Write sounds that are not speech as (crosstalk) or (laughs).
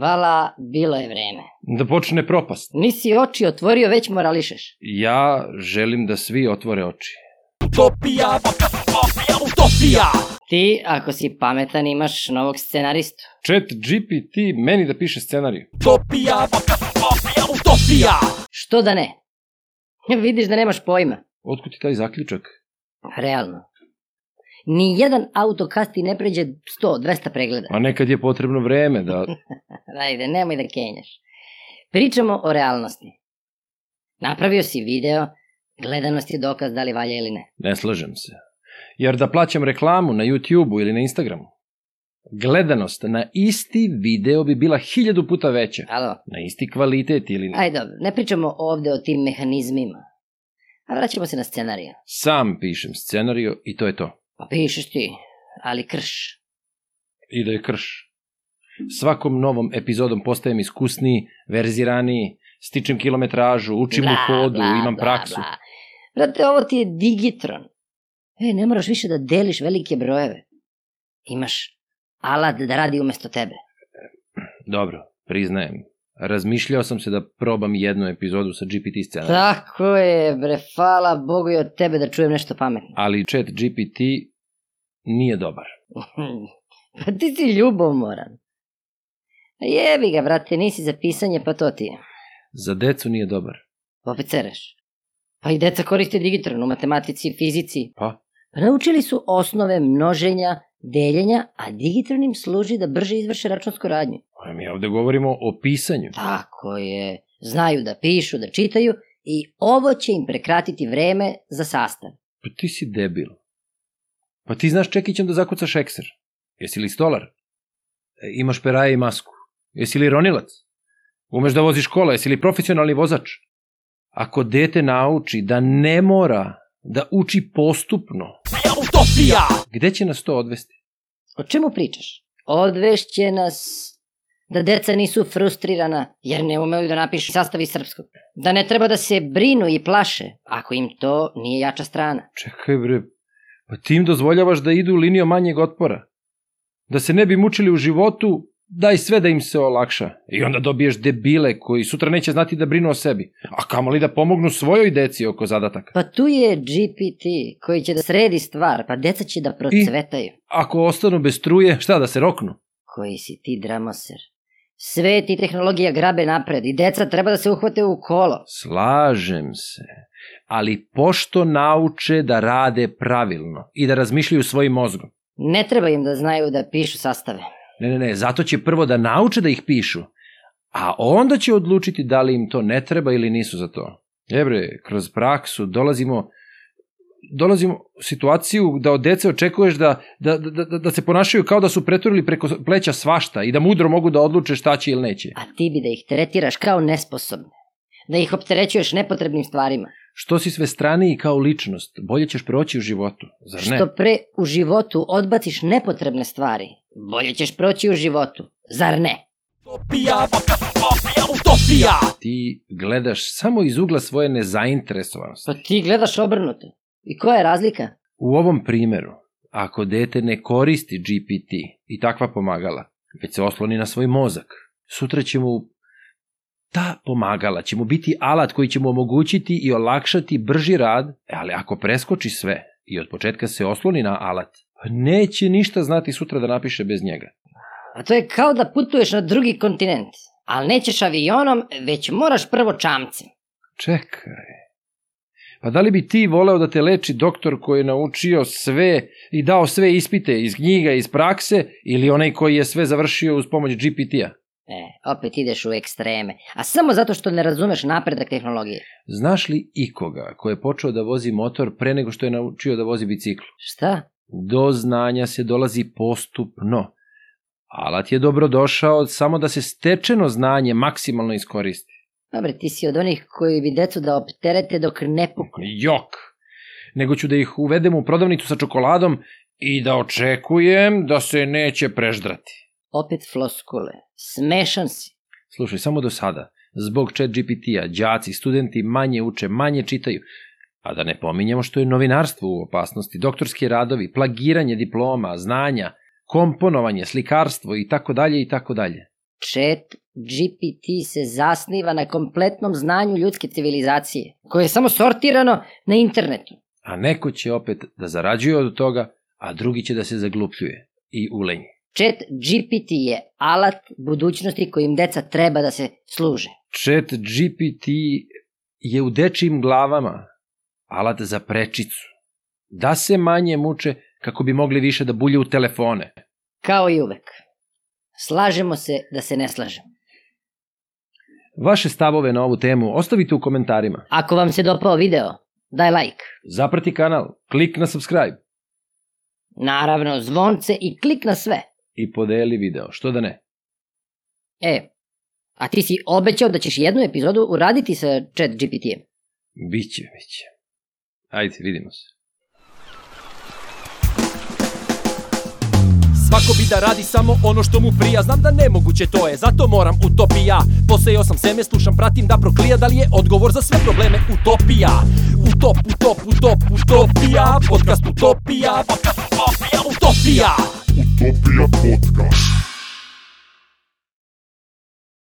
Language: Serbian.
Vala, bilo je vreme. Da počne propast. Nisi oči otvorio, već morališeš. Ja želim da svi otvore oči. Utopija, utopija, utopija. Ti, ako si pametan, imaš novog scenaristu. Chat GPT meni da piše scenariju. Utopija, utopija, utopija. Što da ne? (laughs) Vidiš da nemaš pojma. Otkud ti taj zaključak? Realno. Ni jedan auto kasti ne pređe 100-200 pregleda. A nekad je potrebno vreme da... Ajde, nemoj da kenjaš. Pričamo o realnosti. Napravio si video, gledanost je dokaz da li valja ili ne. Ne slažem se. Jer da plaćam reklamu na YouTube-u ili na Instagramu, gledanost na isti video bi bila hiljadu puta veća. Alo, Na isti kvalitet ili ne. ajde dobro, ne pričamo ovde o tim mehanizmima. A vraćamo se na scenariju. Sam pišem scenariju i to je to. Pa pišeš ti, ali krš. i da je krš. Svakom novom epizodom postajem iskusniji, verziraniji, stičem kilometražu, učim u kodu, imam praksu. Da, Bla. Brate, ovo ti je digitron. E, ne moraš više da deliš velike brojeve. Imaš alat da radi umesto tebe. Dobro, priznajem. Razmišljao sam se da probam jednu epizodu sa GPT scenarijom, Tako je, bre, hvala Bogu i od tebe da čujem nešto pametno. (laughs) ali chat GPT nije dobar. pa ti si ljubomoran. A Jebi ga, brate, nisi za pisanje, pa to ti je. Za decu nije dobar. Opet sereš. Pa i deca koriste digitron u matematici, fizici. Pa? Pa Naučili su osnove množenja, deljenja, a digitron im služi da brže izvrše računsku radnju. A Mi ovde govorimo o pisanju. Tako je. Znaju da pišu, da čitaju i ovo će im prekratiti vreme za sastav. Pa ti si debil. Pa ti znaš čekićem da zakucaš ekser. Jesi li stolar? E, Imaš peraje i masku. Jesi li ronilac? Umeš da voziš kola, jesi li profesionalni vozač? Ako dete nauči da ne mora da uči postupno, Utopija, gde će nas to odvesti? O čemu pričaš? Odvešće nas da deca nisu frustrirana jer ne umeju da napišu sastavi srpskog. Da ne treba da se brinu i plaše ako im to nije jača strana. Čekaj bre, pa ti im dozvoljavaš da idu linijom manjeg otpora. Da se ne bi mučili u životu, daj sve da im se olakša. I onda dobiješ debile koji sutra neće znati da brinu o sebi, a kamoli da pomognu svojoj deci oko zadataka. Pa tu je GPT koji će da sredi stvar, pa deca će da procvetaju. ako ostanu bez struje, šta da se roknu? Koji si ti dramoser? Sve ti tehnologija grabe napred i deca treba da se uhvate u kolo. Slažem se. Ali pošto nauče da rade pravilno i da razmišljaju svojim mozgom? Ne treba im da znaju da pišu sastave. Ne, ne, ne, zato će prvo da nauče da ih pišu, a onda će odlučiti da li im to ne treba ili nisu za to. Jebre, kroz praksu dolazimo dolazimo u situaciju da od dece očekuješ da, da, da, da, da se ponašaju kao da su preturili preko pleća svašta i da mudro mogu da odluče šta će ili neće. A ti bi da ih tretiraš kao nesposobne. Da ih opterećuješ nepotrebnim stvarima. Što si sve straniji kao ličnost, bolje ćeš proći u životu, zar ne? Što pre u životu odbaciš nepotrebne stvari, bolje ćeš proći u životu. Zar ne? utopija, utopija, utopija. Ti gledaš samo iz ugla svoje nezainteresovanosti. Pa ti gledaš obrnuto. I koja je razlika? U ovom primeru, ako dete ne koristi GPT i takva pomagala, već se osloni na svoj mozak, sutra će mu ta pomagala će mu biti alat koji će mu omogućiti i olakšati brži rad, e, ali ako preskoči sve i od početka se osloni na alat, pa neće ništa znati sutra da napiše bez njega. A to je kao da putuješ na drugi kontinent. Ali nećeš avionom, već moraš prvo čamcem. Čekaj. Pa da li bi ti voleo da te leči doktor koji je naučio sve i dao sve ispite iz knjiga, iz prakse, ili onaj koji je sve završio uz pomoć GPT-a? E, opet ideš u ekstreme. A samo zato što ne razumeš napredak tehnologije. Znaš li ikoga ko je počeo da vozi motor pre nego što je naučio da vozi bicikl? Šta? Do znanja se dolazi postupno. Alat je dobrodošao samo da se stečeno znanje maksimalno iskoristi. Dobre, Pa ti si od onih koji bi decu da opterete dok ne puk. jok, nego ću da ih uvedem u prodavnicu sa čokoladom i da očekujem da se neće preždrati. Opet floskule. Smešan si. Slušaj, samo do sada, zbog chat GPT-a, đaci, studenti manje uče, manje čitaju, a da ne pominjemo što je novinarstvo u opasnosti, doktorski radovi, plagiranje diploma, znanja, komponovanje, slikarstvo i tako dalje i tako dalje. Chat GPT se zasniva na kompletnom znanju ljudske civilizacije, koje je samo sortirano na internetu. A neko će opet da zarađuje od toga, a drugi će da se zaglupljuje i ulenji. Chat GPT je alat budućnosti kojim deca treba da se služe. Chat GPT je u dečijim glavama alat za prečicu. Da se manje muče kako bi mogli više da bulje u telefone. Kao i uvek. Slažemo se da se ne slažemo. Vaše stavove na ovu temu ostavite u komentarima. Ako vam se dopao video, daj like. Zaprati kanal, klik na subscribe Naravno, zvonce i klik na sve. i podeli video, što da ne. E, a ti si obećao da ćeš jednu epizodu uraditi sa chat GPT-em. Biće, biće. Ajde, vidimo se. Svako bi da radi samo ono što mu prija Znam da nemoguće to je, zato moram utopija Posejao sam seme, slušam, pratim da proklija Da li je odgovor za sve probleme utopija Utop, utop, utop, utopija Podcast utopija Podcast utopija Utopija Utopia Podcast.